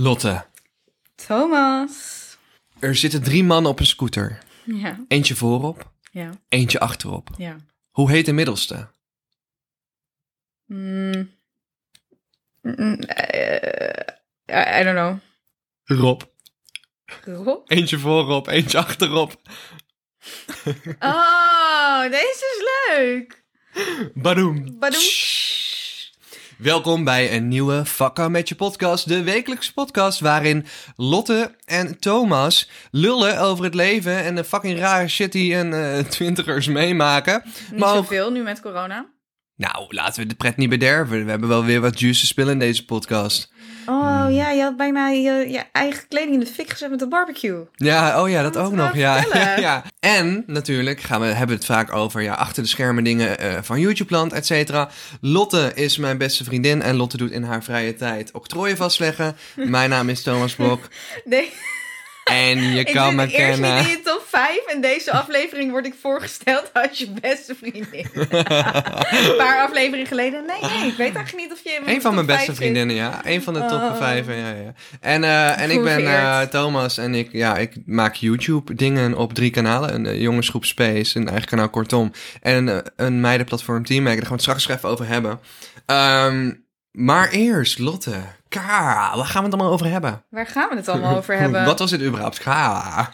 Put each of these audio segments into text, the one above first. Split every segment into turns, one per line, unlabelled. Lotte,
Thomas.
er zitten drie mannen op een scooter.
Ja,
Eentje voorop,
ja,
eentje achterop.
ja.
Hoe heet de middelste?
Mm. Mm, eh, I, I don't know.
Rob.
Rob?
Eentje voorop, eentje achterop.
Oh, deze is leuk.
Badoem.
Badoem.
Welkom bij een nieuwe Vakka met je podcast. De wekelijkse podcast waarin Lotte en Thomas lullen over het leven en de fucking rare shit die een eh, twintigers meemaken.
Niet
Maar ook-
zoveel nu met corona.
Nou, laten we de pret niet bederven. We hebben wel weer wat juice te spillen in deze podcast. Hmm.
Oh ja, je had bijna je, je eigen kleding in de fik gezet met de barbecue.
Ja, oh ja, dat,
Dat
ook
wou
nog.
ik
Ja, ja,
vertellen.
ja. En natuurlijk gaan we, hebben we het vaak over ja, achter de schermen dingen eh, van YouTube-land, et cetera. Lotte is mijn beste vriendin en Lotte doet in haar vrije tijd octrooien vastleggen. mijn naam is Thomas Blok
Nee,
en je
ik
kan
zit
me
eerst niet
kennen.
in je top 5 en deze aflevering word ik voorgesteld als je beste vriendin. Een paar afleveringen geleden. Nee, nee, ik weet eigenlijk niet of je in
Een van
top
mijn beste
vijf zit.
vriendinnen, ja. Een van de top
Oh.
vijf. Ja, ja. En, eh, en ik ben eh,
Geveerd.
Thomas en ik, ja, ik maak YouTube-dingen op drie kanalen. Een eh, jongensgroep Space, een eigen kanaal Kortom. En eh, een meidenplatform Teammaker. Daar gaan we het straks even over hebben. Ehm, maar eerst, Lotte. Kara, waar gaan we het allemaal over hebben?
Waar gaan we het allemaal over hebben?
Wat was dit überhaupt? Kara.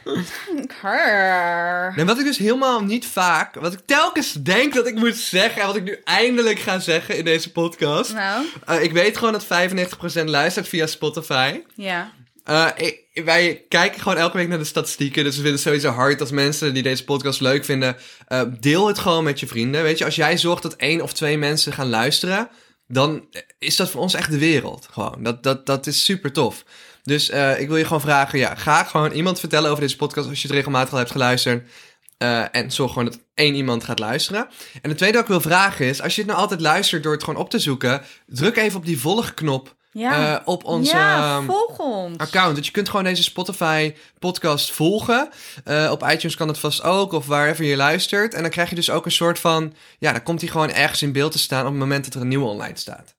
Haar.
En wat ik dus helemaal niet vaak, wat ik telkens denk dat ik moet zeggen... en wat ik nu eindelijk ga zeggen in deze podcast...
Nou,
Eh, ik weet gewoon dat 95% luistert via Spotify.
ja.
Eh, ik- wij kijken gewoon elke week naar de statistieken. Dus we vinden het sowieso hard als mensen die deze podcast leuk vinden. eh, deel het gewoon met je vrienden. Weet je, als jij zorgt dat één of twee mensen gaan luisteren. dan is dat voor ons echt de wereld. Gewoon. Dat, dat, dat is super tof. Dus eh, ik wil je gewoon vragen: ja, ga gewoon iemand vertellen over deze podcast. als je het regelmatig al hebt geluisterd. Eh, en zorg gewoon dat één iemand gaat luisteren. En het tweede wat ik wil vragen is: als je het nou altijd luistert door het gewoon op te zoeken. druk even op die volgknop
Ja,
eh, op onze.
ja
ehm,
volg ons.
account. Dus je kunt gewoon deze Spotify podcast volgen. Eh, op iTunes kan dat vast ook, of waarver je luistert. En dan krijg je dus ook een soort van... Ja, dan komt hij gewoon ergens in beeld te staan op het moment dat er een nieuwe online staat.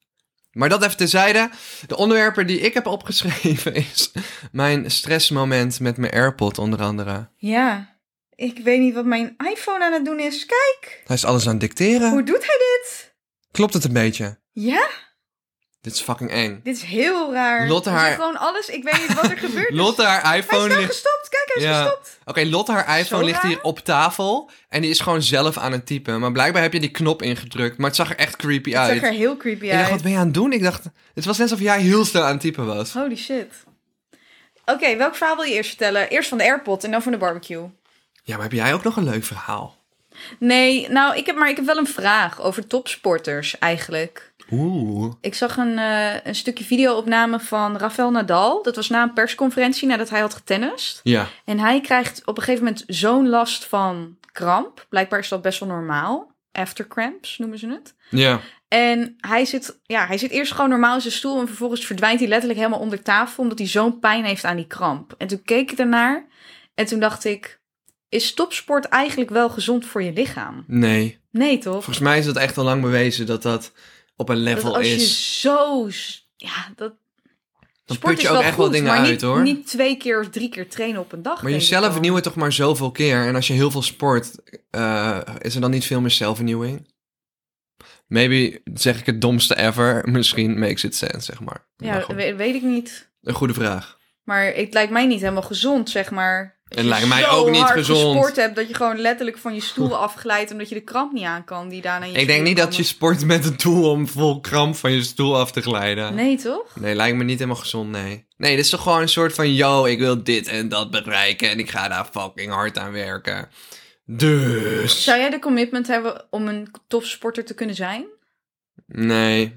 Maar dat even terzijde. De onderwerpen die ik heb opgeschreven is... Mijn stressmoment met mijn AirPod onder andere.
Ja. Ik weet niet wat mijn iPhone aan het doen is. Kijk,
Hij is alles aan het dicteren.
hoe doet hij dit?
Klopt het een beetje?
Ja,
Dit is fucking eng.
dit is heel raar.
Lotte
Er zit
haar-
gewoon alles. Ik weet niet wat er gebeurd is.
Lotte, haar
hij is
iPhone
wel
ligt...
gestopt. Kijk, hij is
Ja.
gestopt.
Oké, Lotte, haar iPhone
Zo
ligt
raar.
hier op tafel. En die is gewoon zelf aan het typen. Maar blijkbaar heb je die knop ingedrukt. Maar het zag er echt creepy
Het
uit.
zag er heel creepy
Ik dacht, wat
uit.
ben je aan het doen? Ik dacht, het was net alsof jij heel snel aan het typen was.
Holy shit. Oké, welk verhaal wil je eerst vertellen? Eerst van de AirPod en dan van de barbecue.
Ja, maar heb jij ook nog een leuk verhaal?
Nee, nou, ik heb, maar ik heb wel een vraag over topsporters eigenlijk.
Oeh.
Ik zag een, eh, een stukje videoopname van Rafael Nadal. Dat was na een persconferentie nadat hij had getennist.
Ja.
En hij krijgt op een gegeven moment zo'n last van kramp. Blijkbaar is dat best wel normaal. Aftercramps noemen ze het.
Ja.
En hij zit, ja, hij zit eerst gewoon normaal in zijn stoel. En vervolgens verdwijnt hij letterlijk helemaal onder tafel. Omdat hij zo'n pijn heeft aan die kramp. En toen keek ik ernaar. En toen dacht ik: Is topsport eigenlijk wel gezond voor je lichaam?
Nee.
Nee, toch?
Volgens mij is dat echt al lang bewezen dat dat op een
Dat
level
als je
is.
zo. s- Ja, dat.
Dan
sport
put je
is
ook
wel
echt wel
goed,
dingen
maar
uit,
niet,
hoor.
Niet twee keer of drie keer trainen op een dag.
Maar
denk ik
jezelf
wel.
vernieuwen toch maar zoveel keer. En als je heel veel sport, eh, is er dan niet veel meer zelfvernieuwing? Maybe zeg ik het domste ever. Misschien makes it sense, zeg maar. Maar
Ja,
goed.
we- weet ik niet.
Een goede vraag.
Maar het lijkt mij niet helemaal gezond, zeg maar. Als
Het
je
lijkt mij
zo
ook niet
hard
gezond.
gesport hebt dat je gewoon letterlijk van je stoel afglijdt omdat je de kramp niet aan kan die daarna in je
Ik denk
spieren
niet dat je
komen.
sport met het doel om vol kramp van je stoel af te glijden.
Nee, toch?
Nee, lijkt me niet helemaal gezond, nee. Nee, dit is toch gewoon een soort van... Yo, ik wil dit en dat bereiken en ik ga daar fucking hard aan werken. Dus...
Zou jij de commitment hebben om een topsporter te kunnen zijn?
Nee.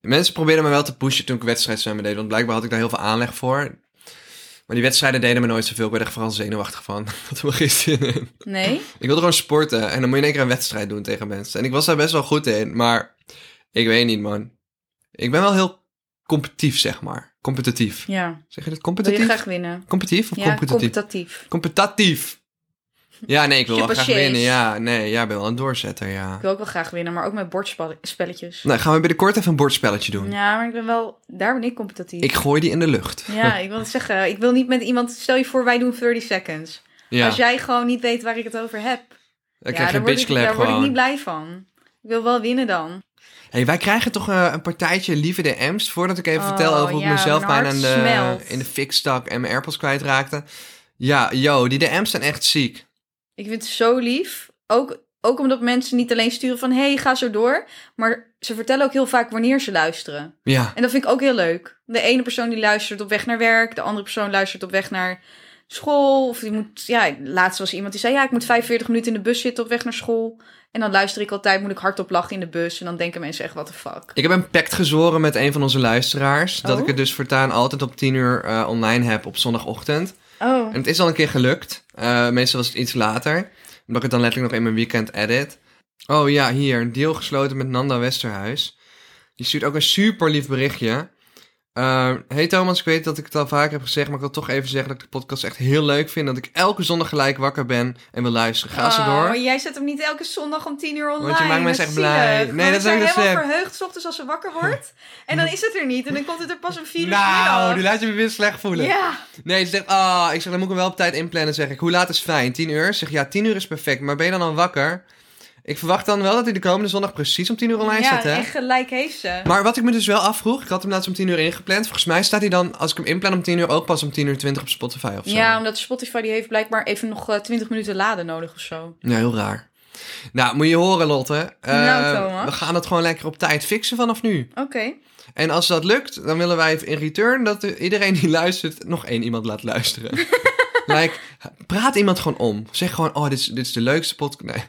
Mensen probeerden me wel te pushen toen ik wedstrijdzwemmen deed. Want blijkbaar had ik daar heel veel aanleg voor. Maar die wedstrijden deden me nooit zoveel. Ik werd er vooral zenuwachtig van. Wat me gisteren in.
Nee?
Ik wilde gewoon sporten. En dan moet je in één keer een wedstrijd doen tegen mensen. En ik was daar best wel goed in. Maar ik weet niet, man. Ik ben wel heel competitief, zeg maar. Competitief.
Ja.
Zeg je dat?
Wil je
Competitief?
graag winnen?
Competitief of
Ja,
competitief?
competitief.
Competatief. Ja, nee, ik wil wel graag
Chippasjees.
winnen. Ja, nee, ja, ik ben wel een doorzetter, ja.
Ik wil ook wel graag winnen, maar ook met bordspelletjes.
Nou, gaan we binnenkort even een bordspelletje doen.
Ja, maar ik ben wel... Daar ben ik competitief.
Nou. Ik gooi die in de lucht.
Ja, ik wil het zeggen. Ik wil niet met iemand... Stel je voor, wij doen 30 seconds.
Ja,
Als jij gewoon niet weet waar ik het over heb.
dan
ja,
krijg je een
word
bitch
ik-
clap
Daar word ik niet
gewoon.
blij van. Ik wil wel winnen dan.
hey, wij krijgen toch eh, een partijtje lieve DM's. Voordat ik even
Oh,
vertel over hoe
ja,
ik mezelf
mijn hart
bijna in de,
smelt.
in de fik stak en mijn AirPods kwijtraakte. Ja, yo, die DM's zijn echt ziek.
Ik vind het zo lief. Ook, ook omdat mensen niet alleen sturen van... hey, ga zo door. Maar ze vertellen ook heel vaak wanneer ze luisteren.
Ja,
En dat vind ik ook heel leuk. De ene persoon die luistert op weg naar werk. De andere persoon luistert op weg naar school. Of die moet... Ja, laatst was iemand die zei... ja, ik moet 45 minuten in de bus zitten op weg naar school. En dan luister ik altijd, moet ik hardop lachen in de bus. En dan denken mensen echt, what the fuck.
ik heb een pact gezworen met een van onze luisteraars. Dat
Oh.
ik het dus voortaan altijd op 10 uur eh, online heb op zondagochtend.
Oh.
En het is al een keer gelukt. Eh, meestal was het iets later. Omdat ik het dan letterlijk nog in mijn weekend edit. Oh ja, hier. Een deal gesloten met Nanda Westerhuis. Die stuurt ook een super lief berichtje. Eh, hey Thomas, ik weet dat ik het al vaker heb gezegd, maar ik wil toch even zeggen dat ik de podcast echt heel leuk vind. Dat ik elke zondag gelijk wakker ben en wil luisteren. Ga ze
Oh,
door.
Maar jij zet hem niet elke zondag om tien uur online.
Want je maakt mensen
Dat is
echt blij.
zielig.
Nee, dat
Want we
is ook dus, eh,
zijn
een
helemaal
sep.
verheugd 's ochtends als ze wakker wordt. En dan is het er niet. En dan komt het er pas om vier uur
Nou, nu
middag.
laat je me weer slecht voelen.
Ja.
Nee, ze zegt, ah, ik zeg, dan moet ik hem wel op tijd inplannen, zeg ik. Hoe laat is fijn? 10 uur? Zeg, ja, 10 uur is perfect, maar ben je dan al wakker? Ik verwacht dan wel dat hij de komende zondag precies om 10 uur online
ja,
staat, hè?
echt gelijk heeft ze.
Maar wat ik me dus wel afvroeg, ik had hem laatst om 10 uur ingepland. Volgens mij staat hij dan, als ik hem inplan om 10 uur, ook pas om 10 uur 20 op Spotify of zo.
Ja, omdat Spotify die heeft blijkbaar even nog eh, 20 minuten laden nodig of zo.
Ja, heel raar. Nou, moet je horen, Lotte. Eh,
Nou, Thomas.
we gaan het gewoon lekker op tijd fixen vanaf nu.
Oké.
En als dat lukt, dan willen wij in return dat iedereen die luistert nog één iemand laat luisteren. like, praat iemand gewoon om. Zeg gewoon, oh, dit is, dit is de leukste podcast. Nee,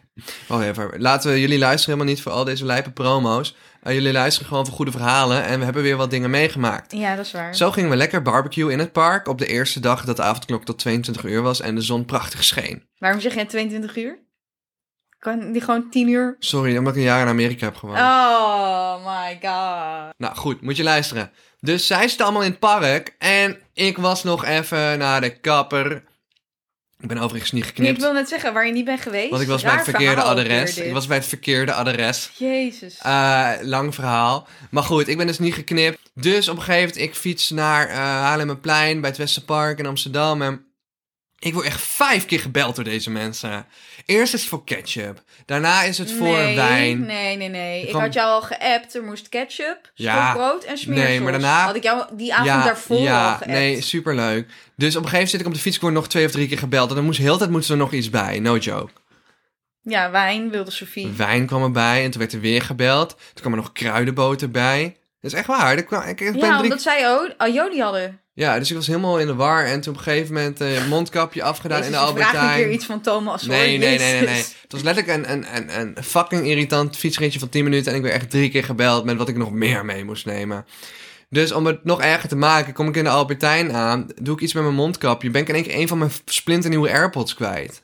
whatever. Laten we jullie luisteren helemaal niet voor al deze lijpe promo's. Eh, jullie luisteren gewoon voor goede verhalen en we hebben weer wat dingen meegemaakt.
Ja, dat is waar.
Zo gingen we lekker barbecue in het park op de eerste dag dat de avondklok tot 22 uur was en de zon prachtig scheen.
Waarom zeg jij 22 uur? Kan die gewoon 10 uur?
Sorry, omdat ik een jaar in Amerika heb gewoond.
Oh my god.
Nou goed, moet je luisteren. Dus zij zitten allemaal in het park en ik was nog even naar de kapper. Ik ben overigens niet
Nee,
geknipt,
ik wil net zeggen waar je niet bent geweest.
want ik was bij
Raar
het verkeerde
verhaal weer
adres.
dit.
Ik was bij het verkeerde adres.
Jezus.
Eh, lang verhaal. Maar goed, ik ben dus niet geknipt. Dus op een gegeven moment, ik fiets naar eh Haarlemmerplein bij het Westerpark in Amsterdam. En ik word echt vijf keer gebeld door deze mensen. Eerst is het voor ketchup. Daarna is het voor
nee,
wijn.
Nee, nee, nee. Ik
kwam-
had jou al geappt. Er moest ketchup,
Ja.
brood en smeersaus.
Nee, maar daarna-
Had ik jou die avond daarvoor al
ja,
geappt.
nee, superleuk. Dus op een gegeven moment zit ik op de fiets, ik word nog twee of drie keer gebeld. En dan moest, heel de tijd moest er nog iets bij, no joke.
Ja, wijn wilde Sophie.
Wijn kwam erbij en toen werd er weer gebeld. Toen kwam er nog kruidenboter bij. Dat is echt waar. Er kwam- ik, ik ben
ja,
drie...
omdat zij ook al jullie hadden.
ja, dus ik was helemaal in de war. En toen op een gegeven moment eh, mondkapje afgedaan
Jezus,
in de Albert
ik vraag een keer
Heijn.
iets van Thomas. hoor.
Nee, nee, nee, nee, nee.
Jezus.
Het was letterlijk een, een, een, een fucking irritant fietsritje van 10 minuten. En ik werd echt drie keer gebeld met wat ik nog meer mee moest nemen. Dus om het nog erger te maken, kom ik in de Albertijn aan. Doe ik iets met mijn mondkapje. Ben ik in één keer een van mijn splinternieuwe AirPods kwijt.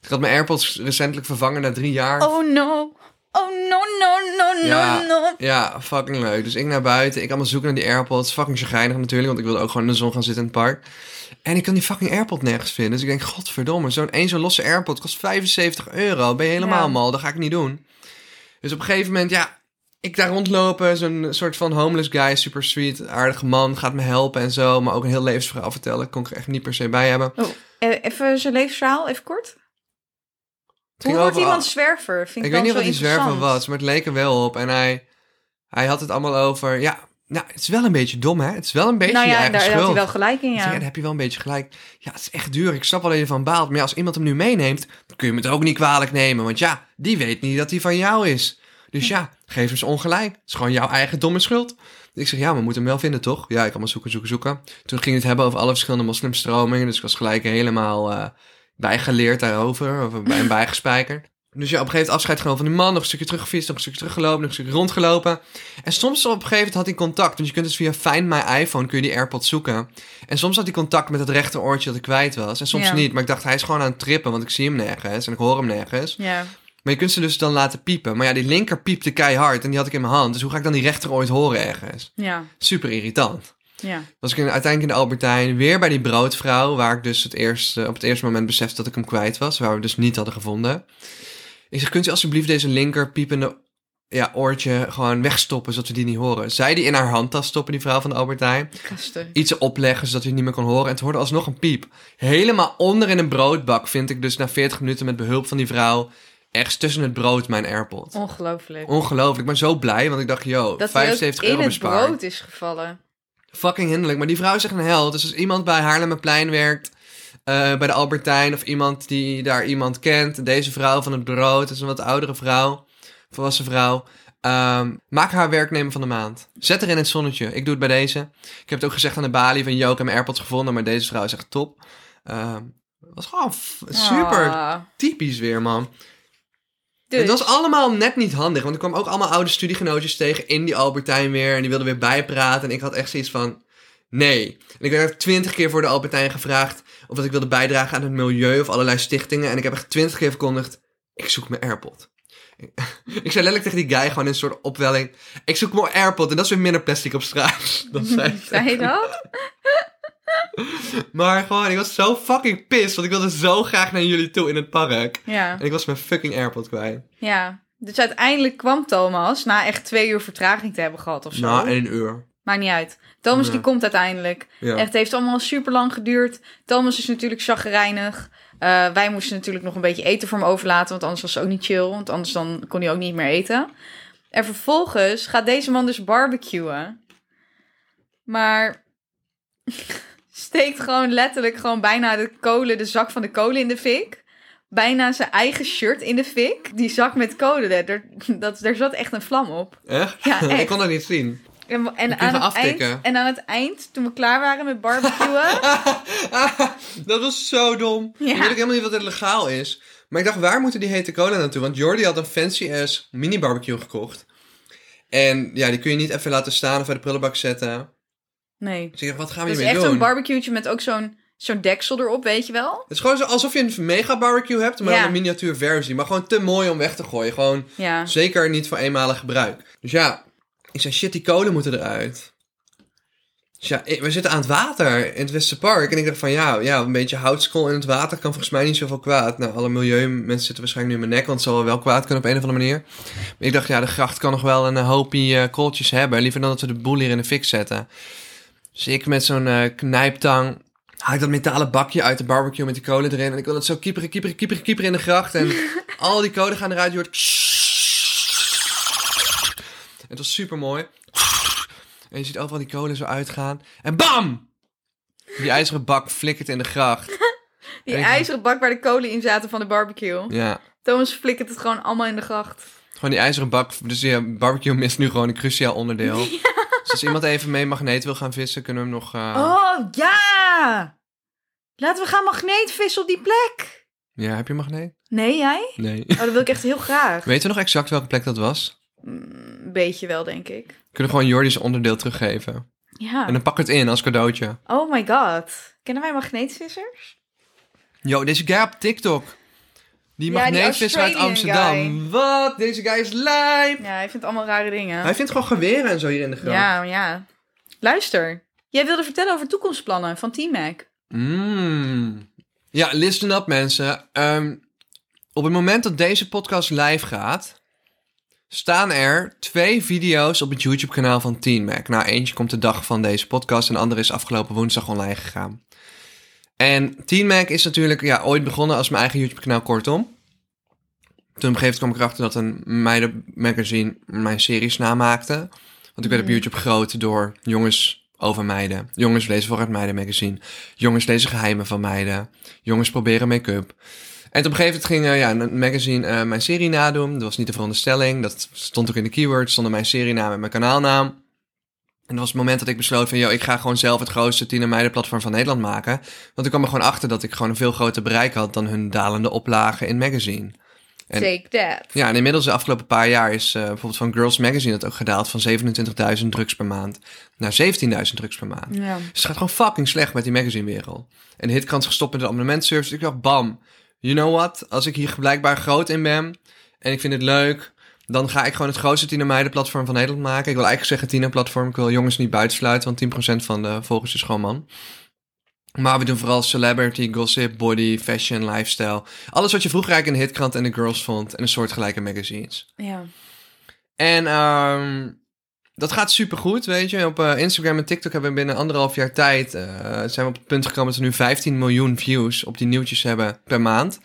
Ik had mijn AirPods recentelijk vervangen na drie jaar.
Oh no. Oh no, no, no,
Ja.
no, no.
Ja, fucking leuk. Dus ik naar buiten. Ik allemaal zoeken naar die AirPods. Fucking chagrijnig natuurlijk, want ik wilde ook gewoon in de zon gaan zitten in het park. En ik kan die fucking AirPod nergens vinden. Dus ik denk, godverdomme, zo'n één zo'n losse AirPod kost 75 euro. Ben je helemaal
Ja.
mal, dat ga ik niet doen. Dus op een gegeven moment, ja, ik daar rondlopen. Zo'n soort van homeless guy, super sweet, aardige man. Gaat me helpen en zo. Maar ook een heel levensverhaal vertellen. Kon ik er echt niet per se bij hebben.
Oh, eh, even zijn levensverhaal, even kort.
Het
Hoe
ging
wordt
overal-
iemand zwerver? Vind
Ik
ik,
weet
dan
niet
zo
wat die zwerver
interessant.
was, maar het leek er wel op. En hij, hij had het allemaal over... Ja, nou, het is wel een beetje dom, hè? Het is wel een beetje
Nou
je
ja,
eigen
daar
schuld.
had hij wel gelijk in,
Ik zeg, Ja,
ja.
daar heb je wel een beetje gelijk. Ja, het is echt duur. Ik snap wel dat je van baalt. Maar ja, als iemand hem nu meeneemt, dan kun je hem het ook niet kwalijk nemen. Want ja, die weet niet dat hij van jou is. Dus ja, geef hem ze ongelijk. Het is gewoon jouw eigen domme schuld. Ik zeg, ja, maar we moeten hem wel vinden, toch? Ja, ik allemaal zoeken, zoeken, zoeken. Toen ging het hebben over alle verschillende moslimstromingen. Dus ik was gelijk helemaal eh, bijgeleerd daarover. Of bij een bijgespijkerd. Dus ja, op een gegeven moment afscheid genomen van die man. Nog een stukje teruggefietst, nog een stukje teruggelopen, nog een stukje rondgelopen. En soms op een gegeven moment had hij contact. Want je kunt dus via Find My iPhone kun je die AirPods zoeken. En soms had hij contact met het rechteroortje dat ik kwijt was. En soms
Ja.
niet. Maar ik dacht, hij is gewoon aan het trippen, want ik zie hem nergens. En ik hoor hem nergens.
Ja.
Maar je kunt ze dus dan laten piepen. Maar ja, die linker piepte keihard en die had ik in mijn hand. Dus hoe ga ik dan die rechter ooit horen ergens?
ja.
Super irritant.
Ja.
was ik in, uiteindelijk in de Albertijn weer bij die broodvrouw, waar ik dus het eerste, op het eerste moment besefte dat ik hem kwijt was, waar we dus niet hadden gevonden. Ik zeg, kunt u alsjeblieft deze linker piepende ja, oortje gewoon wegstoppen, zodat we die niet horen. Zij die in haar handtas stoppen, die vrouw van de Albertijn.
Kasten.
Iets opleggen, zodat je het niet meer kon horen. En het hoorde alsnog een piep. Helemaal onder in een broodbak vind ik dus na 40 minuten met behulp van die vrouw... ergens tussen het brood mijn AirPod.
Ongelooflijk.
Ongelooflijk. Ik ben zo blij, want ik dacht, yo,
Oh. dat hij ook
75 euro
in het
bespaard
brood is gevallen.
fucking hinderlijk. Maar die vrouw is echt een held. Dus als iemand bij Haarlemmerplein werkt, eh, bij de Albertijn... of iemand die daar iemand kent, deze vrouw van het brood... is een wat oudere vrouw, volwassen vrouw... ehm, maak haar werknemer van de maand. Zet haar in het zonnetje. Ik doe het bij deze. Ik heb het ook gezegd aan de balie van... yo, ik heb mijn AirPods gevonden, maar deze vrouw is echt top. Ehm, Het was gewoon f- super
Ah.
typisch weer, man.
Dus,
Het was allemaal net niet handig. Want ik kwam ook allemaal oude studiegenootjes tegen in die Albertijn weer. En die wilden weer bijpraten. En ik had echt zoiets van... Nee. En ik werd echt twintig keer voor de Albertijn gevraagd... of dat ik wilde bijdragen aan het milieu of allerlei stichtingen. En ik heb echt twintig keer verkondigd... Ik zoek mijn AirPod. ik zei letterlijk tegen die guy gewoon in een soort opwelling... Ik zoek mijn AirPod. En dat is weer minder plastic op straat. dan zei ik.
zei je dat?
Maar gewoon, ik was zo fucking pissed. Want ik wilde zo graag naar jullie toe in het park.
Ja.
En ik was mijn fucking AirPod kwijt.
ja. Dus uiteindelijk kwam Thomas, na echt twee uur vertraging te hebben gehad of zo.
Na één uur.
Maakt niet uit. Thomas
Nou, Ja.
die komt uiteindelijk.
Ja.
Echt, het heeft allemaal super lang geduurd. Thomas is natuurlijk chagrijnig. Eh, wij moesten natuurlijk nog een beetje eten voor hem overlaten, want anders was het ook niet chill. Want anders dan kon hij ook niet meer eten. En vervolgens gaat deze man dus barbecuen. Maar steekt gewoon letterlijk gewoon bijna de kolen, de zak van de kolen in de fik. Bijna zijn eigen shirt in de fik. Die zak met kolen, daar- daar, dat, daar zat echt een vlam op.
Echt?
Ja, echt.
ik kon dat niet zien.
En, en,
gaan
aan het
aftikken.
eind, en aan het eind, toen we klaar waren met barbecuen...
dat was zo dom.
Ja.
Ik weet ook helemaal niet wat het legaal is. Maar ik dacht, waar moeten die hete cola naartoe? Want Jordi had een fancy ass mini barbecue gekocht. En ja, die kun je niet even laten staan of uit de prullenbak zetten.
nee.
Dus ik dacht, wat gaan we
Dat is
hiermee
echt zo'n
doen?
barbecue met ook zo'n zo'n deksel erop, weet je wel?
Het is gewoon zo alsof je een mega barbecue hebt, maar
Ja.
dan een miniatuur versie. Maar gewoon te mooi om weg te gooien. Gewoon
Ja.
zeker niet voor eenmalig gebruik. Dus ja, ik zei, shit, die kolen moeten eruit. Dus ja, ik- we zitten aan het water in het Westerpark. En ik dacht van, ja, ja een beetje houtskool in het water kan volgens mij niet zoveel kwaad. Nou, alle milieumensen zitten waarschijnlijk nu in mijn nek, want het zal wel kwaad kunnen op een of andere manier. Maar ik dacht, ja, de gracht kan nog wel een hoopje eh, kooltjes hebben. Liever dan dat we de boel hier in de fik zetten. Dus ik met zo'n eh, knijptang haal ik dat metalen bakje uit de barbecue met die kolen erin. En ik wil dat zo kieperen, kieperen, kieperen, kieperen in de gracht. En al die kolen gaan eruit. Je hoort... Het was super mooi. En je ziet overal die kolen zo uitgaan. En bam! Die ijzeren bak flikkert in de gracht.
Die
Even.
ijzeren bak waar de kolen in zaten van de barbecue.
Ja.
Thomas flikkert het gewoon allemaal in de gracht.
Gewoon die ijzeren bak. Dus ja, barbecue mist nu gewoon een cruciaal onderdeel. Dus als iemand even mee magneet wil gaan vissen, kunnen we hem nog... eh,
Oh, ja! Laten we gaan magneetvissen op die plek.
Ja, heb je magneet?
Nee, jij?
Nee.
Oh, dat wil ik echt heel graag.
Weet je nog exact welke plek dat was?
Een beetje wel, denk ik.
We kunnen gewoon Jordi zijn onderdeel teruggeven. En
Ja.
dan pak ik het in als cadeautje.
Oh my god. Kennen wij magneetvissers?
Yo, deze guy op TikTok. Die
Ja, die
magneetvisser uit
Australian
Amsterdam. Wat? Deze guy is lijp.
Ja, hij vindt allemaal rare dingen.
Hij vindt gewoon geweren en zo hier in de gracht.
Ja, ja. Luister. Jij wilde vertellen over toekomstplannen van Team Mac.
Mm. Ja, listen up mensen. Ehm, op het moment dat deze podcast live gaat, staan er twee video's op het YouTube kanaal van Teen Mac. Nou, eentje komt de dag van deze podcast en de andere is afgelopen woensdag online gegaan. En Teen Mac is natuurlijk ja, ooit begonnen als mijn eigen YouTube kanaal kortom. Toen op een gegeven moment kwam ik erachter dat een meidenmagazine mijn series namaakte. Want ik werd op YouTube groot door jongens over meiden. Jongens lezen voor het meidenmagazine. Jongens lezen geheimen van meiden. Jongens proberen make-up. En op een gegeven moment ging eh, ja, een magazine eh, mijn serie nadoen. Dat was niet de veronderstelling. Dat stond ook in de keywords. Stonden mijn serienaam en mijn kanaalnaam. En dat was het moment dat ik besloot van... Yo, ik ga gewoon zelf het grootste tiener meidenplatform van Nederland maken. Want ik kwam er gewoon achter dat ik gewoon een veel groter bereik had... dan hun dalende oplagen in magazine. En-
Take that.
Ja, en inmiddels de afgelopen paar jaar is eh, bijvoorbeeld van Girls Magazine dat ook gedaald van 27.000 drugs per maand naar 17.000 drugs per maand.
Ja.
Dus het gaat gewoon fucking slecht met die magazinewereld. En de hitkrant is gestopt met de abonnementservice. Ik dacht, bam, you know what? Als ik hier blijkbaar groot in ben en ik vind het leuk, Dan ga ik gewoon het grootste tienermeidenplatform van Nederland maken. Ik wil eigenlijk zeggen tienerplatform. Ik wil jongens niet buitensluiten, want 10% van de volgers is gewoon man. Maar we doen vooral celebrity, gossip, body, fashion, lifestyle. Alles wat je vroeger eigenlijk in de hitkrant en de girls vond. En een soortgelijke magazines.
Ja.
En ehm, dat gaat supergoed, weet je. Op eh, Instagram en TikTok hebben we binnen anderhalf jaar tijd... eh, zijn we op het punt gekomen dat we nu 15 miljoen views op die nieuwtjes hebben per maand.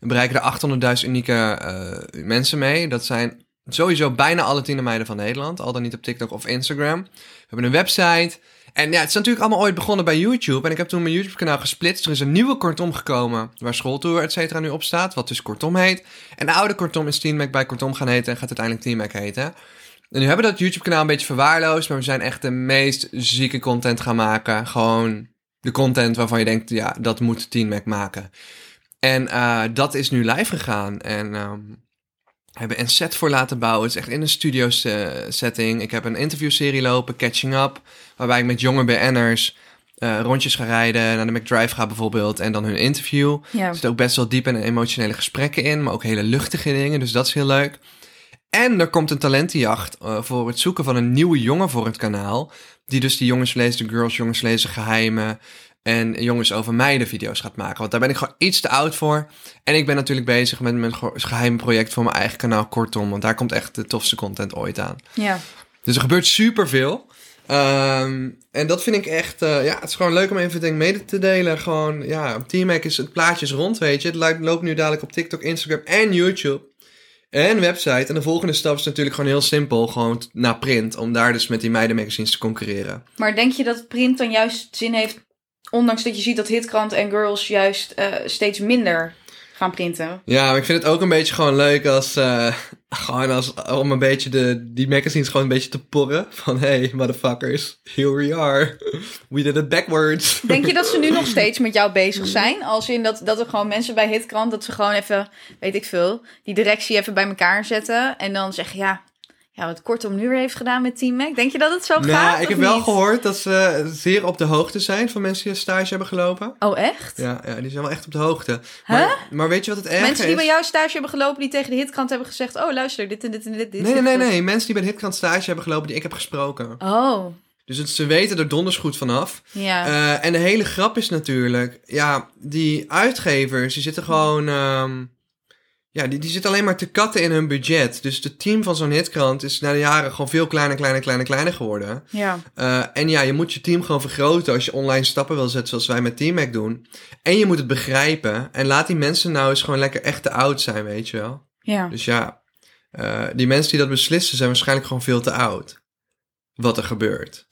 We bereiken er 800.000 unieke eh, mensen mee. Dat zijn sowieso bijna alle tienermeiden van Nederland. Al dan niet op TikTok of Instagram. We hebben een website. En ja, het is natuurlijk allemaal ooit begonnen bij YouTube. En ik heb toen mijn YouTube-kanaal gesplitst. Er is een nieuwe kortom gekomen, waar schooltour et cetera nu op staat. Wat dus kortom heet. En de oude kortom is Team Mac bij kortom gaan heten. En gaat uiteindelijk Team Mac heten. En nu hebben we dat YouTube-kanaal een beetje verwaarloosd. Maar we zijn echt de meest zieke content gaan maken. Gewoon de content waarvan je denkt, ja, dat moet Team Mac maken. En eh, dat is nu live gegaan. En ehm, hebben een set voor laten bouwen. Het is echt in een studio se- setting. Ik heb een interviewserie lopen, Catching Up. Waarbij ik met jonge BN'ers eh, rondjes ga rijden. Naar de McDrive ga bijvoorbeeld. En dan hun interview.
Ja.
Er zitten ook best wel diepe en emotionele gesprekken in, maar ook hele luchtige dingen, dus dat is heel leuk. En er komt een talentenjacht eh, voor het zoeken van een nieuwe jongen voor het kanaal. Die dus die jongens lezen, de girls jongens lezen, geheimen en jongens over meiden video's gaat maken. Want daar ben ik gewoon iets te oud voor. En ik ben natuurlijk bezig met mijn ge- geheim project voor mijn eigen kanaal, kortom. Want daar komt echt de tofste content ooit aan.
Ja.
Dus er gebeurt superveel. Ehm en dat vind ik echt... eh, ja, het is gewoon leuk om even denk, ik, mede te delen. Gewoon, ja, op T-Mac is het plaatjes rond, weet je. Het lijkt- loopt nu dadelijk op TikTok, Instagram en YouTube. En website. En de volgende stap is natuurlijk gewoon heel simpel. Gewoon t- naar print. Om daar dus met die meidenmagazines te concurreren.
Maar denk je dat print dan juist zin heeft, ondanks dat je ziet dat Hitkrant en Girls juist eh, steeds minder gaan printen?
Ja, maar ik vind het ook een beetje gewoon leuk als... eh, gewoon als... Om een beetje de, die magazines gewoon een beetje te porren. Van, hey, motherfuckers. Here we are. We did it backwards.
Denk je dat ze nu nog steeds met jou bezig zijn? Als in dat, dat er gewoon mensen bij Hitkrant, dat ze gewoon even, weet ik veel, die directie even bij elkaar zetten. En dan zeggen, ja, ja wat Kortom nu weer heeft gedaan met Team Mac. Denk je dat het zo gaat?
Nou, ik
of
heb wel
niet?
gehoord dat ze zeer op de hoogte zijn van mensen die stage hebben gelopen.
Oh, echt?
Ja, ja die zijn wel echt op de hoogte. Maar, maar weet je wat het erg
Mensen die
is?
bij jou stage hebben gelopen, die tegen de Hitkrant hebben gezegd, oh, luister, dit en dit en dit. dit
Nee,
zit
nee,
goed.
nee, nee. Mensen die bij de Hitkrant stage hebben gelopen die ik heb gesproken.
Oh,
Dus het, ze weten er donders goed vanaf.
ja.
Eh, en de hele grap is natuurlijk... Ja, die uitgevers, die zitten gewoon... ehm, ja, die, die zitten alleen maar te katten in hun budget. Dus het team van zo'n hitkrant is na de jaren gewoon veel kleiner, kleiner, kleiner, kleiner geworden.
ja.
Eh, en ja, je moet je team gewoon vergroten als je online stappen wil zetten, zoals wij met Team Mac doen. En je moet het begrijpen. En laat die mensen nou eens gewoon lekker echt te oud zijn, weet je wel.
Ja.
Dus ja, eh, die mensen die dat beslissen zijn waarschijnlijk gewoon veel te oud. Wat er gebeurt.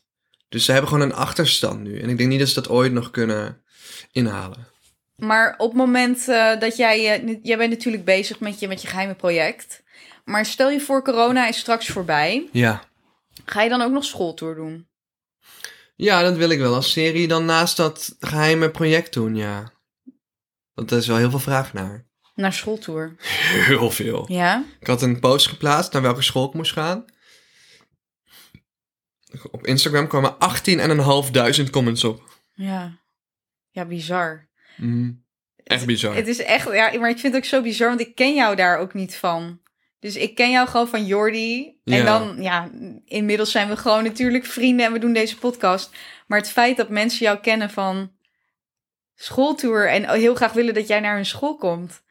Dus ze hebben gewoon een achterstand nu. En ik denk niet dat ze dat ooit nog kunnen inhalen.
Maar op het moment eh, dat jij... eh, nu- jij bent natuurlijk bezig met je, met je geheime project. Maar stel je voor, corona is straks voorbij.
Ja.
Ga je dan ook nog schooltour doen?
Ja, dat wil ik wel als serie dan naast dat geheime project doen, ja. Want daar is wel heel veel vraag naar.
Naar schooltour?
Heel veel.
Ja?
Ik had een post geplaatst naar welke school ik moest gaan. Op Instagram kwamen 18.500 comments op.
Ja. Ja, bizar.
Mm. Echt bizar.
Het is echt... Ja, maar ik vind het ook zo bizar, want ik ken jou daar ook niet van. Dus ik ken jou gewoon van Jordi. En
Ja.
dan, ja, inmiddels zijn we gewoon natuurlijk vrienden en we doen deze podcast. Maar het feit dat mensen jou kennen van schooltour en heel graag willen dat jij naar hun school komt.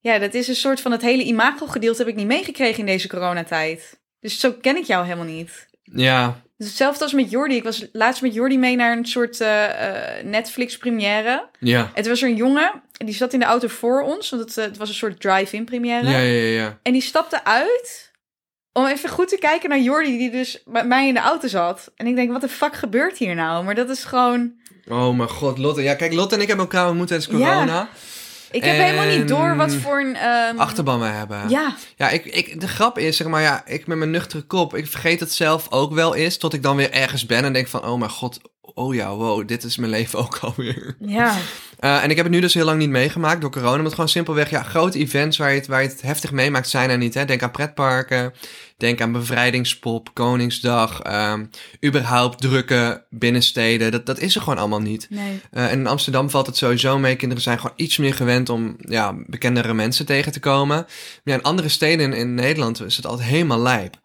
Ja, dat is een soort van het hele imago-gedeelte heb ik niet meegekregen in deze coronatijd. Dus zo ken ik jou helemaal niet.
Ja,
Het is Hetzelfde als met Jordi. Ik was laatst met Jordi mee naar een soort eh, eh, Netflix-première.
ja.
En toen was er een jongen, en die zat in de auto voor ons, want het, eh, het was een soort drive-in-première.
Ja, ja, ja. ja.
En die stapte uit om even goed te kijken naar Jordi, die dus met mij in de auto zat. En ik denk, wat de fuck gebeurt hier nou? Maar dat is gewoon...
Oh mijn god, Lotte. Ja, kijk, Lotte en ik hebben elkaar ontmoet tijdens corona.
Mhm. Ik heb helemaal niet door wat
En-
voor een... ehm,
Achterban wij hebben.
Ja,
Ja, ik, ik, de grap is, zeg maar, ja, ik met mijn nuchtere kop, ik vergeet het zelf ook wel eens, tot ik dan weer ergens ben en denk van, oh mijn god, oh ja, wow, dit is mijn leven ook alweer.
ja,
Eh, en ik heb het nu dus heel lang niet meegemaakt door corona. Maar het gewoon simpelweg, ja, grote events waar je het, waar je het heftig meemaakt zijn er niet. Hè? Denk aan pretparken, denk aan bevrijdingspop, Koningsdag. ehm, überhaupt drukke binnensteden. Dat, dat is er gewoon allemaal niet.
Nee.
Eh, en in Amsterdam valt het sowieso mee. Kinderen zijn gewoon iets meer gewend om ja, bekendere mensen tegen te komen. Maar ja, in andere steden in, in Nederland is het altijd helemaal lijp.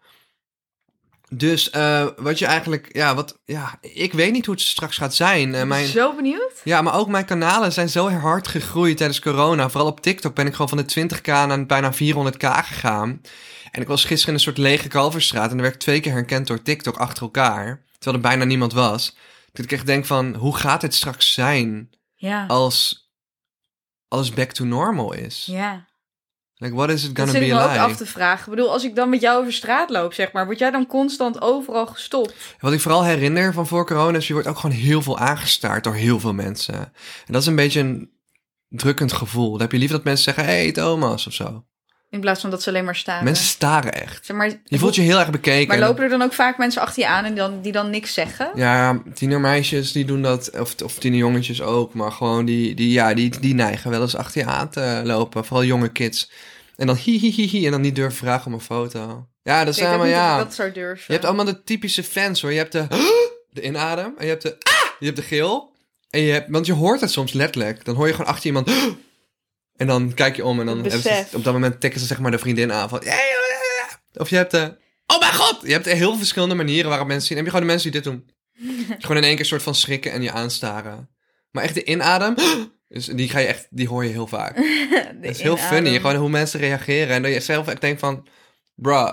Dus eh, wat je eigenlijk, ja, wat, ja, ik weet niet hoe het straks gaat zijn. Eh, mijn,
Zo benieuwd.
ja, maar ook mijn kanalen zijn zo hard gegroeid tijdens corona. Vooral op TikTok ben ik gewoon van de 20k naar bijna 400k gegaan. En ik was gisteren in een soort lege kalverstraat en er werd ik twee keer herkend door TikTok achter elkaar. Terwijl er bijna niemand was. Dat ik echt denk van, hoe gaat dit straks zijn
Ja.
als alles back to normal is?
Ja.
Like, what is it
Dat
gonna
zit ik
be
me ook af
like?
te vragen. Ik bedoel, als ik dan met jou over straat loop, zeg maar, word jij dan constant overal gestopt?
Wat ik vooral herinner van voor corona is, je wordt ook gewoon heel veel aangestaard door heel veel mensen. En dat is een beetje een drukkend gevoel. Dan heb je liever dat mensen zeggen, hey Thomas of zo.
In plaats van dat ze alleen maar staan.
Mensen staren echt.
Zeg maar,
Je voelt je heel erg bekeken.
maar lopen er dan ook vaak mensen achter je aan en dan, die dan niks zeggen?
Ja, tienermeisjes die doen dat, of, of tienerjongetjes ook, maar gewoon die, die, ja, die, die neigen wel eens achter je aan te lopen. Vooral jonge kids. En dan hi hi hi hi en dan niet durven vragen om een foto. Ja, dat
Ik weet
zijn maar
ook niet of
ja.
ik dat zou durven.
Je hebt allemaal de typische fans hoor. Je hebt de, de inadem en je hebt de, "Ah!" je hebt de geel. En je hebt, want je hoort het soms letterlijk. Dan hoor je gewoon achter iemand. En dan kijk je om en dan
Het
hebben ze-
besef.
op dat moment tikken ze zeg maar de vriendin aan van. "Hey, eh, eh." Of je hebt de. Oh mijn god! Je hebt heel veel verschillende manieren waarop mensen zien. Dan heb je gewoon de mensen die dit doen. gewoon in één keer een soort van schrikken en je aanstaren. Maar echt de inadem. Dus die ga je echt, die hoor je heel vaak.
De
Het is heel
inadem.
funny, gewoon hoe mensen reageren. En dat je zelf echt denkt van... Bruh,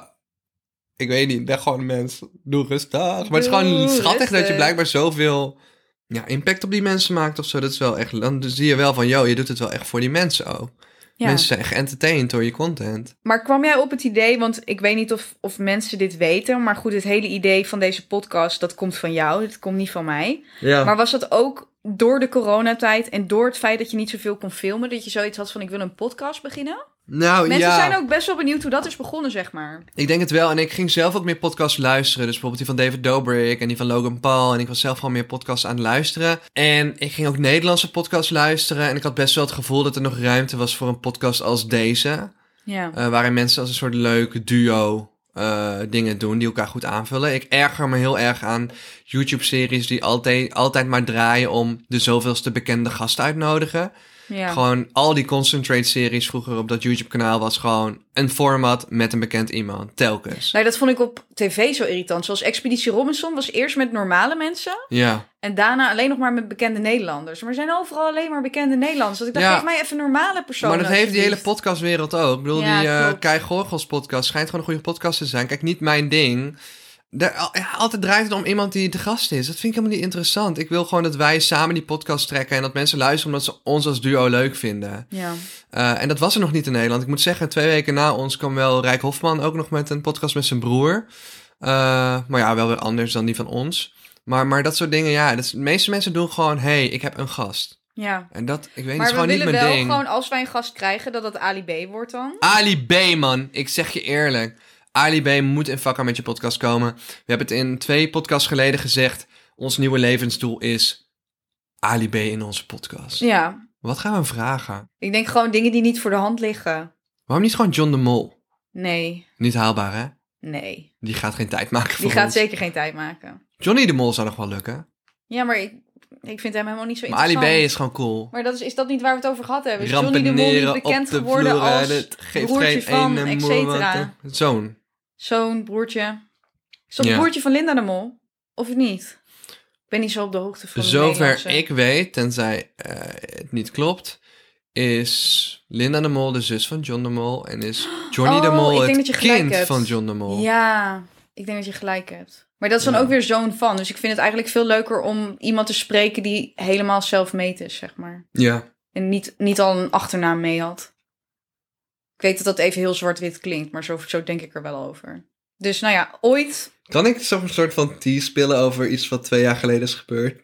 ik weet niet, ik ben gewoon een mens. Doe rustig. Maar het is gewoon
Doe
schattig dat je
rustig.
blijkbaar zoveel ja, impact op die mensen maakt of zo. Dat is wel echt... Dan zie je wel van, yo, je doet het wel echt voor die mensen ook.
Ja.
Mensen zijn geëntertained door je content.
Maar kwam jij op het idee, want ik weet niet of, of mensen dit weten, maar goed, het hele idee van deze podcast, dat komt van jou, dat komt niet van mij.
Ja.
Maar was dat ook door de coronatijd en door het feit dat je niet zoveel kon filmen, dat je zoiets had van ik wil een podcast beginnen?
nou,
Mensen
ja.
zijn ook best wel benieuwd hoe dat is begonnen, zeg maar.
Ik denk het wel. En ik ging zelf ook meer podcasts luisteren. Dus bijvoorbeeld die van David Dobrik en die van Logan Paul. En ik was zelf gewoon meer podcasts aan het luisteren. En ik ging ook Nederlandse podcasts luisteren. En ik had best wel het gevoel dat er nog ruimte was voor een podcast als deze.
Ja.
Eh, waarin mensen als een soort leuk duo eh, dingen doen die elkaar goed aanvullen. Ik erger me heel erg aan YouTube-series die altijd, altijd maar draaien om de zoveelste bekende gast uitnodigen.
ja.
Eh, Gewoon al die concentrate-series vroeger op dat YouTube-kanaal was gewoon een format met een bekend iemand, telkens.
Nou, dat vond ik op tv zo irritant. Zoals Expeditie Robinson was eerst met normale mensen
Ja,
en daarna alleen nog maar met bekende Nederlanders. Maar er zijn overal alleen maar bekende Nederlanders. Dat ik dacht,
Ja.
geef mij even normale personen.
maar dat heeft die hele
alsjeblieft.
podcastwereld ook. Ik bedoel,
Ja,
die eh
klopt.
Kai Gorgels podcast schijnt gewoon een goede podcast te zijn. Kijk, niet mijn ding. Daar, al- ja, altijd draait het om iemand die de gast is. Dat vind ik helemaal niet interessant. Ik wil gewoon dat wij samen die podcast trekken... en dat mensen luisteren omdat ze ons als duo leuk vinden.
Ja.
Eh, en dat was er nog niet in Nederland. Ik moet zeggen, twee weken na ons kwam wel Rijk Hofman ook nog met een podcast met zijn broer. Eh, maar ja, wel weer anders dan die van ons. Maar, maar dat soort dingen, ja. Dat is- de meeste mensen doen gewoon... hey, ik heb een gast.
Ja.
En dat, ik weet niet, is
Maar we
gewoon niet
willen
mijn
wel
ding.
gewoon, als wij een gast krijgen, dat dat Ali B wordt dan.
Ali B, man. Ik zeg je eerlijk. Ali B moet in vakken met je podcast komen. We hebben het in twee podcasts geleden gezegd. Ons nieuwe levensdoel is Ali B in onze podcast.
Ja.
Wat gaan we hem vragen?
Ik denk gewoon dingen die niet voor de hand liggen.
Waarom niet gewoon John de Mol?
Nee,
Niet haalbaar, hè?
nee.
Die gaat geen tijd maken voor
Die gaat
ons.
zeker geen tijd maken.
Johnny de Mol zou nog wel lukken.
Ja, maar ik, ik vind hem helemaal niet zo
Maar Ali
interessant.
B is gewoon cool.
Maar dat is, is dat niet waar we het over gehad hebben? Is Johnny de Mol
Rampeneren
niet
op de
bekend geworden
vloer.
als
Het geeft
broertje
geen
van,
ene
et
moer wat,
cetera.
eh, Zoon.
zo'n broertje? Is dat het
Ja.
broertje van Linda de Mol? Of niet? Ik ben niet zo op de hoogte van de
Zover
Nederlandse.
ik weet, tenzij eh, het niet klopt, is Linda de Mol de zus van John de Mol. En is Johnny de
Oh, ik
Mol
denk
het
dat je gelijk
kind
hebt.
van John de Mol.
Ja, ik denk dat je gelijk hebt. Maar dat is dan
Ja.
ook weer zo'n van. Dus ik vind het eigenlijk veel leuker om iemand te spreken die helemaal self-made is, zeg maar.
Ja.
En niet, niet al een achternaam mee had. Ik weet dat dat even heel zwart-wit klinkt, maar zo, zo denk ik er wel over. Dus nou ja, ooit,
Kan ik zo'n soort van tea spillen over iets wat twee jaar geleden is gebeurd?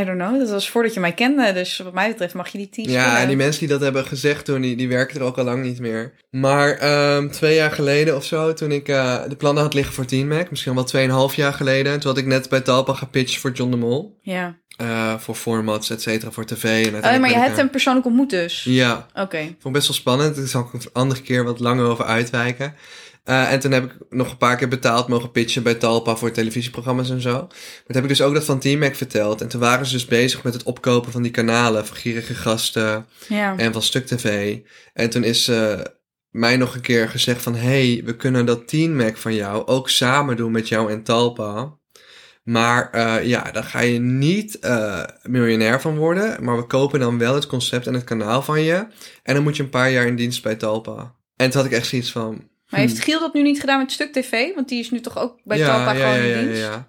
I don't know, dat was voordat je mij kende. Dus wat mij betreft mag je die teaser.
Ja, en die mensen die dat hebben gezegd toen, die, die werken er ook al lang niet meer. Maar ehm, twee jaar geleden of zo, toen ik eh, de plannen had liggen voor Team Mac, misschien wel 2,5 jaar geleden, toen had ik net bij Talpa gepitcht voor John de Mol.
Ja,
eh, voor formats, et cetera, voor tv. En
Oh,
uiteindelijk
maar je
ben ik
hebt
er-
hem persoonlijk ontmoet dus?
Ja,
Oké.
vond ik best wel spannend. Daar zal ik een andere keer wat langer over uitwijken. Eh, en toen heb ik nog een paar keer betaald mogen pitchen bij Talpa voor televisieprogramma's en zo. Maar toen heb ik dus ook dat van T-Mac verteld. En toen waren ze dus bezig met het opkopen van die kanalen van gierige gasten.
Ja.
En van Stuk TV. En toen is eh, mij nog een keer gezegd van... hey, we kunnen dat Teen Mac van jou ook samen doen met jou en Talpa. Maar eh, ja, daar ga je niet eh, miljonair van worden. Maar we kopen dan wel het concept en het kanaal van je. En dan moet je een paar jaar in dienst bij Talpa. En toen had ik echt zoiets van...
Maar heeft Giel dat nu niet gedaan met Stuk TV? Want die is nu toch ook bij
Hmm. ja,
Talpa
ja,
gewoon
ja, ja,
in dienst?
ja, ja.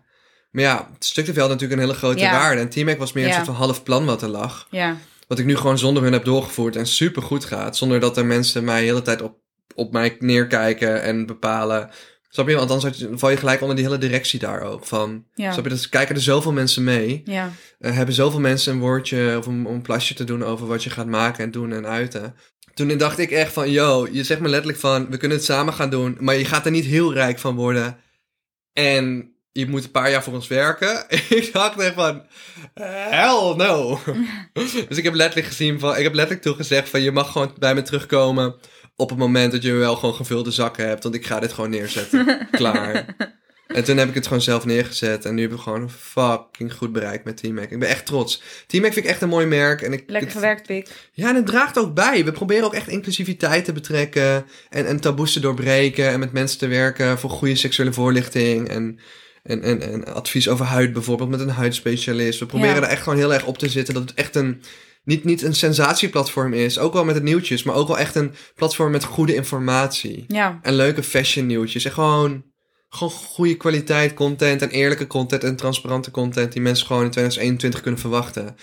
Maar ja, het Stuk TV had natuurlijk een hele grote
Ja.
waarde. En T-Mac was meer een
Ja.
soort van half plan wat er lag.
Ja.
Wat ik nu gewoon zonder hun heb doorgevoerd en super goed gaat. Zonder dat er mensen mij de hele tijd op, op mij neerkijken en bepalen. Snap je? Want anders had je- val je gelijk onder die hele directie daar ook. Van,
Ja.
Snap je? Dus kijken er zoveel mensen mee.
Ja.
Eh, hebben zoveel mensen een woordje of een, om een plasje te doen over wat je gaat maken en doen en uiten. Toen dacht ik echt van, yo, je zegt me letterlijk van, we kunnen het samen gaan doen. Maar je gaat er niet heel rijk van worden. En je moet een paar jaar voor ons werken. ik dacht echt van, hell no. dus ik heb letterlijk gezien van, ik heb letterlijk toen gezegd van, je mag gewoon bij me terugkomen. Op het moment dat je wel gewoon gevulde zakken hebt. Want ik ga dit gewoon neerzetten. Klaar. En toen heb ik het gewoon zelf neergezet. En nu heb ik gewoon een fucking goed bereikt met T-Mac. Ik ben echt trots. T-Mac vind ik echt een mooi merk. En ik,
Lekker
het-
gewerkt, Pik.
Ja, en het draagt ook bij. We proberen ook echt inclusiviteit te betrekken. En, en taboes te doorbreken. En met mensen te werken voor goede seksuele voorlichting. En, en, en, en advies over huid bijvoorbeeld met een huidspecialist. We proberen
Ja.
er echt gewoon heel erg op te zitten. Dat het echt een... Niet, niet een sensatieplatform is. Ook wel met het nieuwtjes. Maar ook wel echt een platform met goede informatie.
Ja.
En leuke fashion nieuwtjes. En gewoon, gewoon goede kwaliteit content. En eerlijke content. En transparante content. Die mensen gewoon in 2021 kunnen verwachten.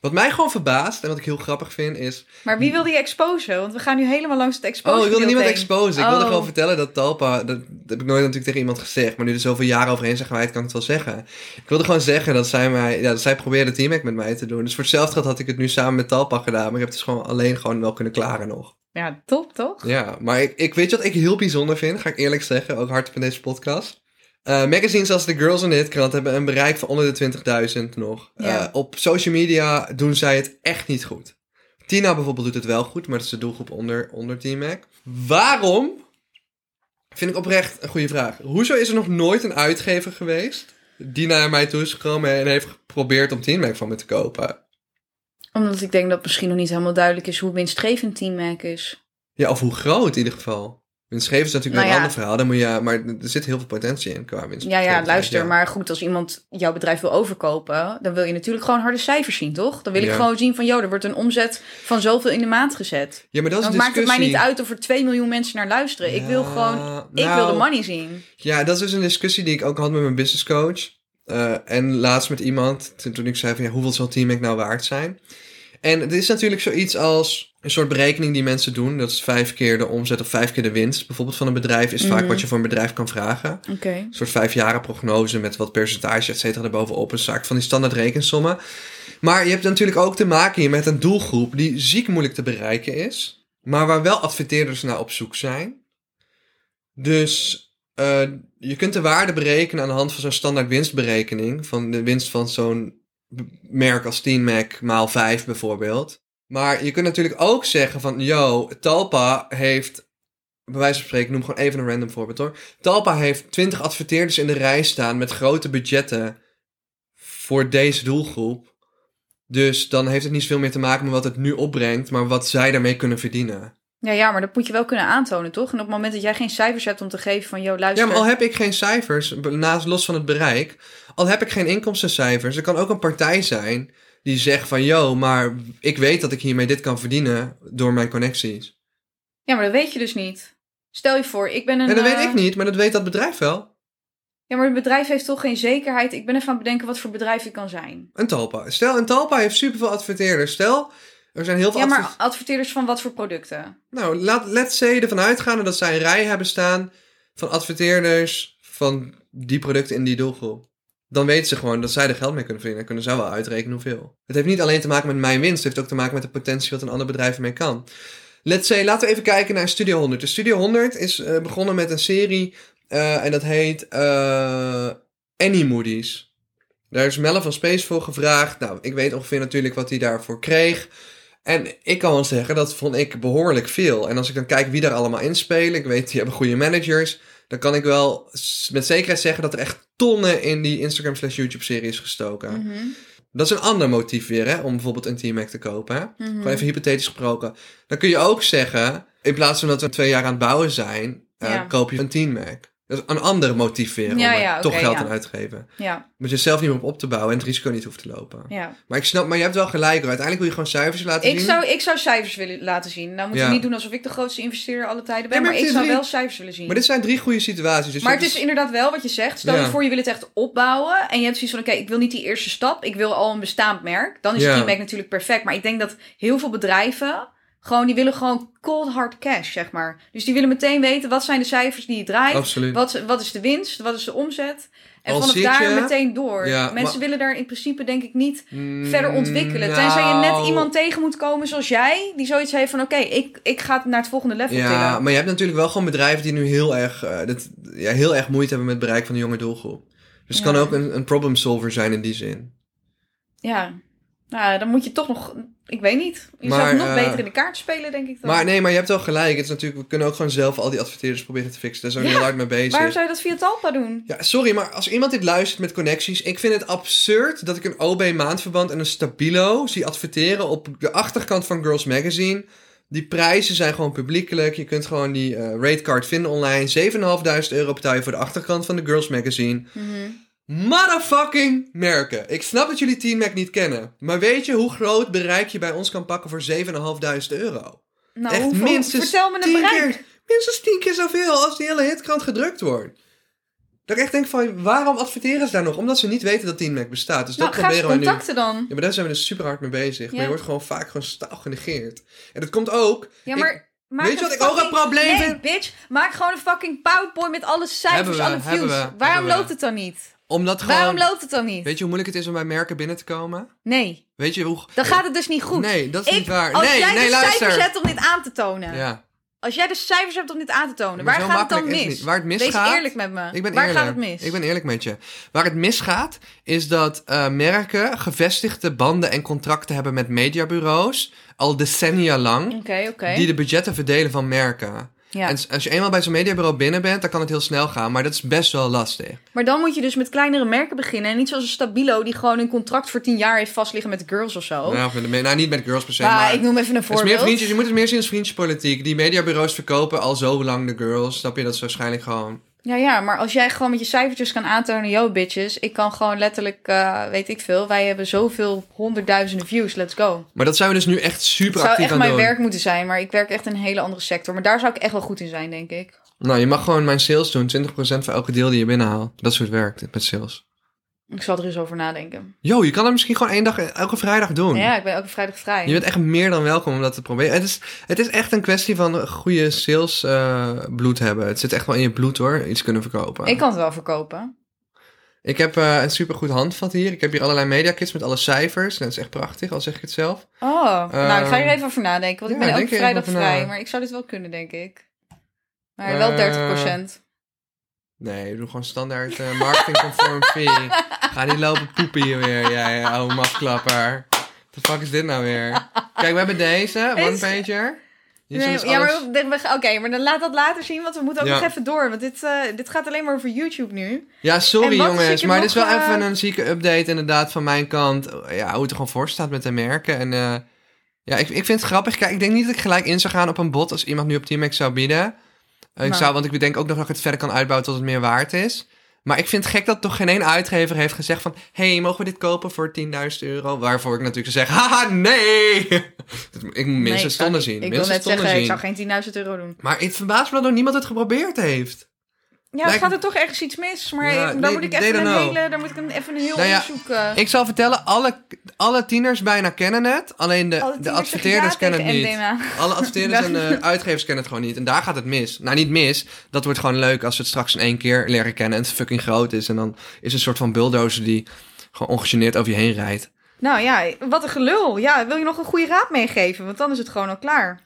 Wat mij gewoon verbaast. En wat ik heel grappig vind is.
Maar wie wil die exposen? Want we gaan nu helemaal langs het exposen.
Oh, ik wilde niemand
gedeelte heen.
exposen. Ik wilde
Oh.
gewoon vertellen dat Talpa. Dat, dat heb ik nooit natuurlijk tegen iemand gezegd. Maar nu er zoveel jaren overheen zijn gewaaid, kan ik het wel zeggen. Ik wilde gewoon zeggen dat zij, mij, ja, dat zij probeerde teamhack met mij te doen. Dus voor hetzelfde geld had ik het nu samen met Talpa gedaan. Maar ik heb het dus gewoon alleen gewoon wel kunnen klaren nog.
Ja, top toch?
Ja, maar ik, ik weet je wat ik heel bijzonder vind, ga ik eerlijk zeggen, ook hard van deze podcast. Eh, magazines als The Girls in It krant hebben een bereik van onder de 20.000 nog.
Ja.
Eh, op social media doen zij het echt niet goed. Tina bijvoorbeeld doet het wel goed, maar dat is de doelgroep onder, onder Team Mac. Waarom? Vind ik oprecht een goede vraag. Hoezo is er nog nooit een uitgever geweest die naar mij toe is gekomen en heeft geprobeerd om Team Mac van me te kopen?
Omdat ik denk dat misschien nog niet helemaal duidelijk is hoe winstgevend Team Mac is.
Ja, of hoe groot in ieder geval. Winstgevend is natuurlijk
Nou
weer
ja.
een ander verhaal. Dan moet je, maar er zit heel veel potentie in qua winst.
Ja, ja, luister. Maar goed, als iemand jouw bedrijf wil overkopen, dan wil je natuurlijk gewoon harde cijfers zien, toch? Dan wil ik
Ja.
gewoon zien van, joh, er wordt een omzet van zoveel in de maand gezet.
Ja, maar dat is
Dan
een
maakt
discussie.
het mij niet uit of er 2 miljoen mensen naar luisteren. Ik wil
Ja,
gewoon, ik
nou,
wil de money zien.
Ja, dat is dus een discussie die ik ook had met mijn business coach. Eh, en laatst met iemand, toen, toen ik zei van ja, hoeveel zal Team Mac nou waard zijn? En het is natuurlijk zoiets als een soort berekening die mensen doen. Dat is vijf keer de omzet of vijf keer de winst. Bijvoorbeeld van een bedrijf is vaak
Mhm.
wat je voor een bedrijf kan vragen.
Oké.
Een soort vijfjaren prognose met wat percentage, et cetera, erbovenop. Een zaak van die standaard rekensommen. Maar je hebt natuurlijk ook te maken hier met een doelgroep die ziek moeilijk te bereiken is. Maar waar wel adverteerders naar op zoek zijn. Dus eh, je kunt de waarde berekenen aan de hand van zo'n standaard winstberekening. Van de winst van zo'n b- merk als Team Mac maal 5 bijvoorbeeld. Maar je kunt natuurlijk ook zeggen van... Yo, Talpa heeft... Bij wijze van spreken, ik noem gewoon even een random voorbeeld hoor. Talpa heeft 20 adverteerders in de rij staan met grote budgetten voor deze doelgroep. Dus dan heeft het niet zoveel meer te maken met wat het nu opbrengt, maar wat zij daarmee kunnen verdienen.
Ja, ja, maar dat moet je wel kunnen aantonen, toch? En op het moment dat jij geen cijfers hebt om te geven van, joh,
Ja,
luister.
maar al heb ik geen cijfers, b- naast los van het bereik, al heb ik geen inkomstencijfers, er kan ook een partij zijn die zegt van, yo, maar ik weet dat ik hiermee dit kan verdienen door mijn connecties.
Ja, maar dat weet je dus niet. Stel je voor, ik ben een...
En dat weet
eh,
ik niet, maar dat weet dat bedrijf wel.
Ja, maar het bedrijf heeft toch geen zekerheid. Ik ben even aan het bedenken wat voor bedrijf ik kan zijn.
Een Talpa. Stel, een Talpa heeft superveel adverteerders. Stel, er zijn heel veel
Ja,
adver-
maar adverteerders van wat voor producten?
Nou, laat, let's say ervan uitgaan dat zij een rij hebben staan van adverteerders van die producten in die doelgroep. Dan weten ze gewoon dat zij er geld mee kunnen verdienen. Kunnen zij wel uitrekenen hoeveel. Het heeft niet alleen te maken met mijn winst. Het heeft ook te maken met de potentie wat een ander bedrijf ermee kan. Let's say, laten we even kijken naar Studio 100. De Studio 100 is eh, begonnen met een serie eh, en dat heet eh Any Moody's. Daar is Melle van Space voor gevraagd. Nou, ik weet ongeveer natuurlijk wat hij daarvoor kreeg. En ik kan wel zeggen, dat vond ik behoorlijk veel. En als ik dan kijk wie daar allemaal inspelen, ik weet, die hebben goede managers. Dan kan ik wel s- met zekerheid zeggen dat er echt tonnen in die Instagram slash YouTube serie is gestoken.
Mhm.
Dat is een ander motief weer, hè, om bijvoorbeeld een T-Mac te kopen. Hè?
Mhm.
Gewoon even hypothetisch gesproken. Dan kun je ook zeggen, in plaats van dat we twee jaar aan het bouwen zijn, eh,
Ja.
koop je een T-Mac. Dat is een ander motief weer, om
Ja,
er
ja,
toch
oké,
geld
ja.
aan uit te geven.
Ja,
Moet je zelf niet meer op op te bouwen en het risico niet hoeft te lopen.
ja.
Maar ik snap, maar je hebt wel gelijk hoor. Uiteindelijk wil je gewoon cijfers laten
Ik
zien.
zou, ik zou cijfers willen laten zien. Nou moet
Ja.
je niet doen alsof ik de grootste investeerder alle tijden ben.
Ja, maar het
maar ik
is
zou
drie-
wel cijfers willen zien.
Maar dit zijn drie goede situaties. Dus
Maar
dit
het is inderdaad wel wat je zegt. Stel
Ja.
je voor, je wil het echt opbouwen. En je hebt zoiets van, oké, ik wil niet die eerste stap. Ik wil al een bestaand merk. Dan is
Ja.
het merk natuurlijk perfect. Maar ik denk dat heel veel bedrijven... Gewoon, die willen gewoon cold hard cash, zeg maar. Dus die willen meteen weten, wat zijn de cijfers die je draait?
Absoluut.
Wat, wat is de winst? Wat is de omzet? En
Al
vanaf
zit
daar
je-
meteen door.
Ja,
Mensen willen daar in principe denk ik niet
Mm,
verder ontwikkelen.
nou,
Tenzij je net iemand tegen moet komen zoals jij... die zoiets heeft van, oké, ik, ik ga naar het volgende level
Ja,
tillen.
maar je hebt natuurlijk wel gewoon bedrijven die nu heel erg, eh, dat, ja, heel erg moeite hebben met het bereik van de jonge doelgroep. Dus het
Ja.
kan ook een, een problem solver zijn in die zin.
Ja, nou, dan moet je toch nog. Ik weet niet. Je zou
Maar,
het nog
eh,
beter in de kaart spelen, denk ik dan.
Maar nee, maar je hebt wel gelijk. Het is natuurlijk, we kunnen ook gewoon zelf al die adverteerders proberen te fixen. Daar zijn we
Ja,
heel hard mee bezig.
Waarom zou je dat via Talpa doen?
Ja, sorry, maar als iemand dit luistert met connecties, ik vind het absurd dat ik een OB-maandverband en een Stabilo zie adverteren op de achterkant van Girls Magazine. Die prijzen zijn gewoon publiekelijk. Je kunt gewoon die eh, ratecard vinden online. 7.500 euro betaal je voor de achterkant van de Girls Magazine. Motherfucking merken. Ik snap dat jullie Team Mac niet kennen. Maar weet je hoe groot bereik je bij ons kan pakken voor 7.500 euro?
Nou,
Echt
hoeveel-
minstens
vertel me een
tien
bereik. Nou,
keer. Minstens tien keer zoveel als die hele hitkrant gedrukt wordt. Dat ik echt denk van, waarom adverteren ze daar nog? Omdat ze niet weten dat Team Mac bestaat. Dus
Nou,
dat
ga eens
proberen we nu. Ja,
contacten dan.
maar daar zijn we dus super hard mee bezig. Maar
Ja.
je wordt gewoon vaak gewoon staal genegeerd. En dat komt ook...
Ja, maar.
Ik-
maak
weet je
een
wat ik ook een
fucking-
probleem
nee,
vind?
bitch. Maak gewoon een fucking PowerPoint met alle
Hebben
cijfers,
we,
alle
hebben
views.
we,
Waarom
hebben we.
loopt het dan niet?
omdat gewoon...
Waarom loopt het dan niet?
Weet je hoe moeilijk het is om bij merken binnen te komen?
Nee,
Weet je hoe...
dan gaat het dus niet goed.
Nee, dat is
Ik-
niet waar.
Als
nee,
jij
nee,
de
luister.
cijfers hebt om dit aan te tonen.
Ja.
Als jij de cijfers hebt om dit aan te tonen,
Maar
waar
zo
gaat het dan
makkelijk is
mis?
het niet. Waar het misgaat-
Wees eerlijk met me.
Ik ben
waar
eerlijk.
gaat het mis?
Ik ben eerlijk met je. Waar het misgaat, is dat eh, merken gevestigde banden en contracten hebben met mediabureaus. Al decennia lang.
Oké, oké.
Die de budgetten verdelen van merken.
Ja.
En s- als je eenmaal bij zo'n mediabureau binnen bent, dan kan het heel snel gaan. Maar dat is best wel lastig.
Maar dan moet je dus met kleinere merken beginnen. En niet zoals een Stabilo die gewoon een contract voor 10 jaar heeft vastliggen met girls of zo.
Nou, met de me- nou, niet met girls per se,
maar,
maar...
Oh. ik noem even een
het is
voorbeeld.
meer vriendjes, je moet het meer zien als vriendjespolitiek. Die mediabureaus verkopen al zo lang de girls. Snap je, dat is waarschijnlijk gewoon...
Ja, ja, maar als jij gewoon met je cijfertjes kan aantonen, yo bitches, ik kan gewoon letterlijk, eh, weet ik veel, wij hebben zoveel honderdduizenden views, let's go.
Maar dat zijn we dus nu echt super
Het zou
actief
echt
aan
mijn
doen.
werk moeten zijn, maar ik werk echt in een hele andere sector. Maar daar zou ik echt wel goed in zijn, denk ik.
Nou, je mag gewoon mijn sales doen. 20% voor elke deal die je binnenhaalt. Dat is hoe het werkt met sales.
Ik zal er eens over nadenken.
Yo, je kan het misschien gewoon één dag, elke vrijdag doen.
Ja, ik ben elke vrijdag vrij.
Je bent echt meer dan welkom om dat te proberen. Het is, het is echt een kwestie van goede sales eh, bloed hebben. Het zit echt wel in je bloed hoor, iets kunnen verkopen.
Ik kan het wel verkopen.
Ik heb eh, een supergoed handvat hier. Ik heb hier allerlei mediakits met alle cijfers. Dat is echt prachtig, al zeg ik het zelf.
Oh, nou, ik ga
Ehm,
hier even over nadenken. Want ik
ja,
ben
denk er
elke
even
vrijdag
over na.
vrij. Maar ik zou dit wel kunnen, denk ik. Maar wel
Eh,
30%.
Nee, doe gewoon standaard eh, marketingconform fee. Ga niet lopen poepen hier weer, jij eh, oude mafklapper. What the fuck is dit nou weer? Kijk, we hebben deze,
Is-
one pager. Hier
Nee,
is dus alles...
ja, maar dit- we gaan- oké, maar dan laat dat later zien, want we moeten ook
Ja.
nog even door. Want dit, eh, dit gaat alleen maar over YouTube nu.
Ja, sorry
En wat is
jongens,
ik er
maar dit is
nog,
wel
eh,
even een zieke update inderdaad van mijn kant. Ja, hoe het er gewoon voor staat met de merken. En eh, ja, ik, ik vind het grappig. Kijk, ik denk niet dat ik gelijk in zou gaan op een bot als iemand nu op T-Max zou bieden. Eh, ik
Nou.
zou, want ik denk ook nog dat ik het verder kan uitbouwen tot het meer waard is. Maar ik vind het gek dat toch geen één uitgever heeft gezegd van... Hé, hey, mogen we dit kopen voor 10.000 euro? Waarvoor ik natuurlijk zou zeggen, haha, nee! ik moet
Nee, ik
minstens
zou
stonden
niet-
zien.
Ik wil
minstens
net zeggen,
tonnen
ik zou
zien.
geen 10.000 euro doen.
Maar het verbaast me dat nog niemand het geprobeerd heeft.
Ja,
Lijkt-
gaat er toch ergens iets mis. Maar
Ja,
dan
nee,
moet ik
they
even een
don't know.
hele, dan moet ik een, even een heel
Nou ja,
onderzoek... eh,
Ik zal vertellen, alle, alle tieners bijna kennen het. Alleen de,
alle tieners
de
zeggen
adverteerders
ja
kennen het
tegen
niet.
MDMA.
Alle adverteerders en
Ja.
eh, uitgevers kennen het gewoon niet. En daar gaat het mis. Nou, niet mis. Dat wordt gewoon leuk als we het straks in één keer leren kennen en het fucking groot is. En dan is het een soort van bulldozer die gewoon ongegeneerd over je heen rijdt.
Nou ja, wat een gelul. Ja, wil je nog een goede raad meegeven? Want dan is het gewoon al klaar.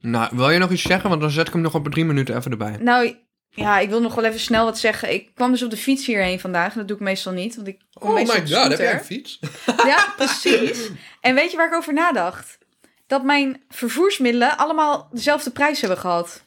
Nou, wil je nog iets zeggen? Want dan zet ik hem nog op drie minuten even erbij.
Nou, Ja, ik wil nog wel even snel wat zeggen. Ik kwam dus op de fiets hierheen vandaag. En dat doe ik meestal niet, want ik kom
Oh my
meestal op
god,
de
heb
scooter.
jij een fiets?
Ja, precies. En weet je waar ik over nadacht? Dat mijn vervoersmiddelen allemaal dezelfde prijs hebben gehad.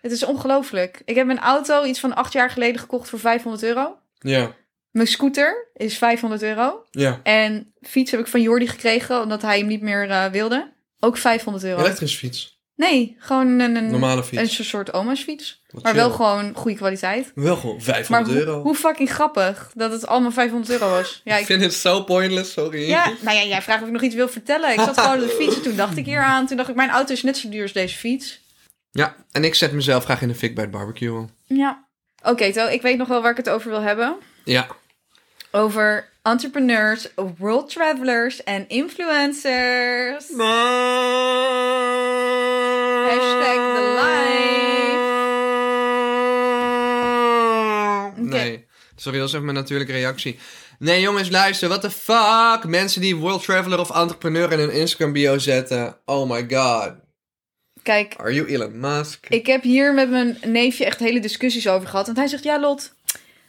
Het is ongelooflijk. Ik heb mijn auto iets van acht jaar geleden gekocht voor 500 euro.
Ja,
Mijn scooter is 500 euro.
ja.
En fiets heb ik van Jordi gekregen, omdat hij hem niet meer eh, wilde. Ook 500 euro.
Elektrische fiets.
Nee, gewoon een, een,
Normale fiets.
Mm. een soort oma's fiets.
Wat
Maar wel
chill.
gewoon goede kwaliteit.
Wel gewoon
Maar
500
hoe,
euro.
hoe fucking grappig dat het allemaal 500 euro was. Ja,
ik
ik
vind het zo pointless, sorry.
Ja, nou ja, jij vraagt of ik nog iets wil vertellen. Ik zat gewoon op de fiets en toen dacht ik hier aan. Toen dacht ik, mijn auto is net zo duur als deze fiets.
Ja, en ik zet mezelf graag in de fik bij het barbecue.
Ja. Oké, To, ik weet nog wel waar ik het over wil hebben.
Ja.
Over entrepreneurs, world travelers en influencers. Hashtag the
life. Nee. Sorry, dat is even mijn natuurlijke reactie. Nee, jongens, luister. What the fuck? Mensen die world traveler of entrepreneur in hun Instagram bio zetten. Oh my god.
Kijk,
Are you Elon Musk?
ik heb hier met mijn neefje echt hele discussies over gehad. Want hij zegt, ja Lot,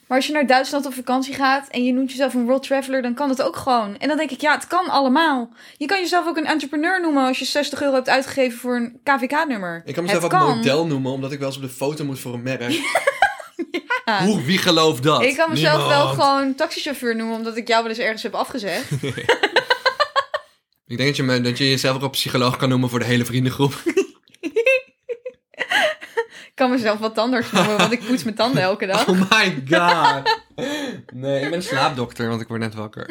maar als je naar Duitsland op vakantie gaat... en je noemt jezelf een world traveler, dan kan dat ook gewoon. En dan denk ik, ja, het kan allemaal. Je kan jezelf ook een entrepreneur noemen als je 60 euro hebt uitgegeven voor een KVK-nummer.
Ik kan mezelf ook
het kan.
model noemen, omdat ik wel eens op de foto moet voor een merk. Hoe, wie gelooft dat?
Ik kan mezelf wel
Niemand.
gewoon taxichauffeur noemen, omdat ik jou wel eens ergens heb afgezegd.
Ik denk dat je, me- dat je jezelf ook op psycholoog kan noemen voor de hele vriendengroep.
ik kan mezelf wat tandarts noemen, want ik poets mijn tanden elke dag.
Oh my god. Nee, ik ben een slaapdokter, want ik word net wakker.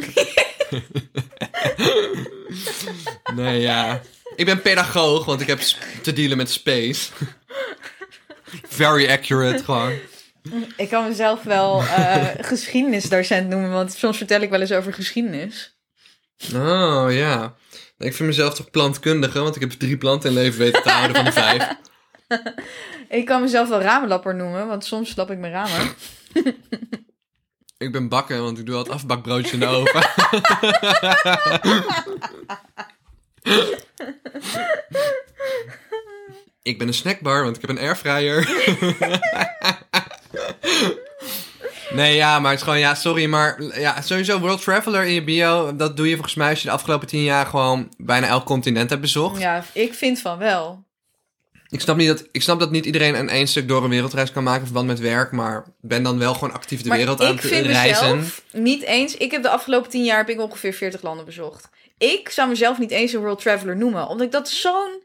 Nee, ja. Ik ben pedagoog, want ik heb sp- te dealen met space. Very accurate, gewoon.
Ik kan mezelf wel eh, geschiedenisdocent noemen, want soms vertel ik wel eens over geschiedenis.
Oh, ja. Ik vind mezelf toch plantkundige, want ik heb drie planten in leven weten te houden van de vijf.
Ik kan mezelf wel ramenlapper noemen, want soms lap ik mijn ramen.
Ik ben bakker, want ik doe altijd afbakbroodjes in de oven. ik ben een snackbar, want ik heb een airfryer. nee, ja, maar het is gewoon, ja, sorry, maar ja, sowieso World Traveler in je bio, dat doe je volgens mij als je de afgelopen tien jaar gewoon bijna elk continent hebt bezocht.
Ja, ik vind van wel.
Ik, snap niet dat, ik snap dat niet iedereen aan één stuk door een wereldreis kan maken in verband met werk, maar ben dan wel gewoon actief de
maar
wereld aan
ik
het
vind
reizen.
mezelf niet eens... Ik heb de afgelopen tien jaar heb ik ongeveer 40 landen bezocht. Ik zou mezelf niet eens een world traveler noemen, omdat ik dat zo'n...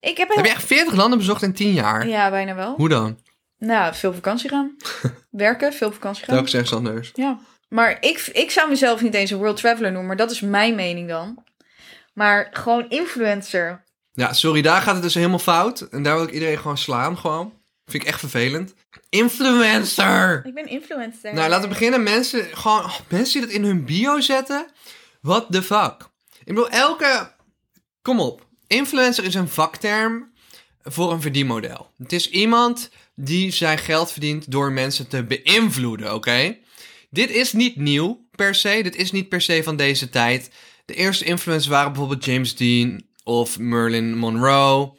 Ik heb,
Heb je echt 40 landen bezocht in 10 jaar?
Ja, bijna wel.
Hoe dan?
Nou, veel op vakantie gaan. Werken, veel op vakantie gaan.
Welke zegt ze anders?
Ja. Maar ik, ik zou mezelf niet eens een world traveler noemen, maar dat is mijn mening dan. Maar gewoon influencer.
Ja, sorry, daar gaat het dus helemaal fout. En daar wil ik iedereen gewoon slaan, gewoon. Vind ik echt vervelend. Influencer!
Ik ben influencer.
Nou, laten we beginnen. Mensen, gewoon, oh, mensen die dat in hun bio zetten. What the fuck? Ik bedoel, elke... Kom op. Influencer is een vakterm voor een verdienmodel. Het is iemand die zijn geld verdient door mensen te beïnvloeden, oké? Dit is niet nieuw per se. Dit is niet per se van deze tijd. De eerste influencers waren bijvoorbeeld James Dean of Merlin Monroe.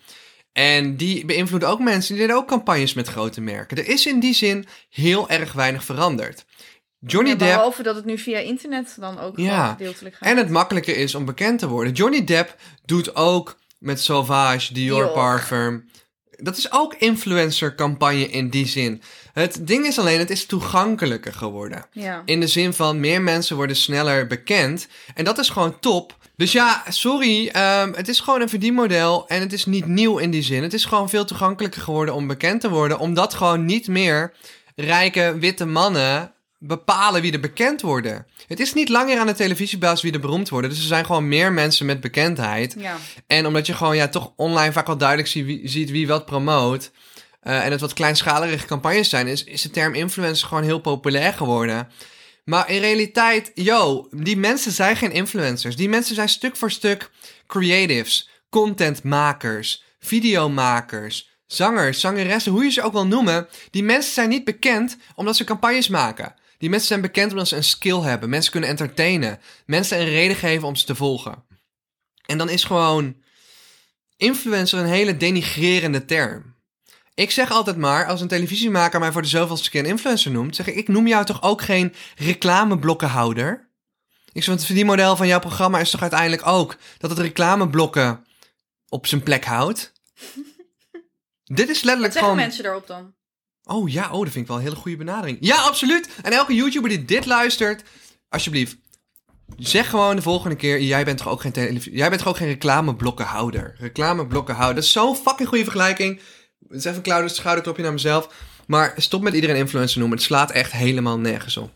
En die beïnvloeden ook mensen. Die deden ook campagnes met grote merken. Er is in die zin heel erg weinig veranderd. Johnny
Ja,
Depp
behalve dat het nu via internet dan ook
Ja.
gewoon gedeeltelijk gaat.
en het makkelijker is om bekend te worden. Johnny Depp doet ook met Sauvage, Dior,
Dior.
Parfum. Dat is ook influencercampagne in die zin. Het ding is alleen, het is toegankelijker geworden.
Ja.
In de zin van meer mensen worden sneller bekend. En dat is gewoon top. Dus ja, sorry, ehm, het is gewoon een verdienmodel en het is niet nieuw in die zin. Het is gewoon veel toegankelijker geworden om bekend te worden, omdat gewoon niet meer rijke witte mannen bepalen wie er bekend worden. Het is niet langer aan de televisiebaas wie er beroemd worden, dus er zijn gewoon meer mensen met bekendheid.
ja.
En omdat je gewoon ja, toch online vaak wel duidelijk zie- wie- ziet wie wat promoot. eh, en het wat kleinschalige campagnes zijn, is, is de term influencer gewoon heel populair geworden. Maar in realiteit, yo, die mensen zijn geen influencers. Die mensen zijn stuk voor stuk creatives, contentmakers, videomakers, zangers, zangeressen, hoe je ze ook wil noemen. Die mensen zijn niet bekend omdat ze campagnes maken. Die mensen zijn bekend omdat ze een skill hebben. Mensen kunnen entertainen. Mensen een reden geven om ze te volgen. En dan is gewoon influencer een hele denigrerende term. Ik zeg altijd maar, als een televisiemaker mij voor de zoveelste keer een influencer noemt, zeg ik, ik noem jou toch ook geen reclameblokkenhouder? Ik zeg, want het verdienmodel van jouw programma is toch uiteindelijk ook dat het reclameblokken op zijn plek houdt? Dit is
Wat
letterlijk
zeggen
gewoon...
mensen daarop dan?
Oh ja, oh, dat vind ik wel een hele goede benadering. Ja, absoluut. En elke YouTuber die dit luistert, alsjeblieft. Zeg gewoon de volgende keer, jij bent toch ook geen, televisie- jij bent toch ook geen reclameblokkenhouder. Reclameblokkenhouder, dat is zo'n fucking goede vergelijking. Het is even een klauw- schouderklopje naar mezelf. Maar stop met iedereen influencer noemen, het slaat echt helemaal nergens op.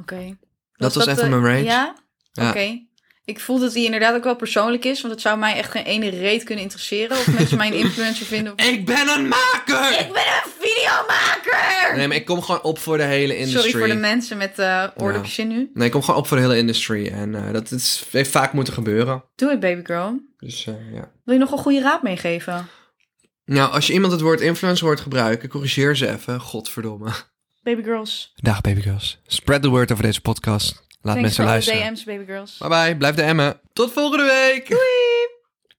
Oké.
Dat was even
de-
mijn range.
eh, Ja?
Ja.
Oké. Ik voel dat die inderdaad ook wel persoonlijk is, want het zou mij echt geen ene reet kunnen interesseren of mensen mij een influencer vinden. Of...
Ik ben een maker!
Ik ben een videomaker!
Nee, maar ik kom gewoon op voor de hele industrie.
Sorry voor de mensen met eh oordopjes in nu.
Nee, ik kom gewoon op voor de hele industrie. En eh, dat is, heeft vaak moeten gebeuren.
Doe het, baby girl.
Dus eh, ja.
Wil je nog een goede raad meegeven?
Nou, als je iemand het woord influencer hoort gebruiken, corrigeer ze even. Godverdomme.
Baby girls.
Dag babygirls. Spread the word over deze podcast. Laat
Thanks
mensen
for all the
luisteren.
DM's, baby girls.
Bye bye. Blijf de emmen. Tot volgende week.
Doei!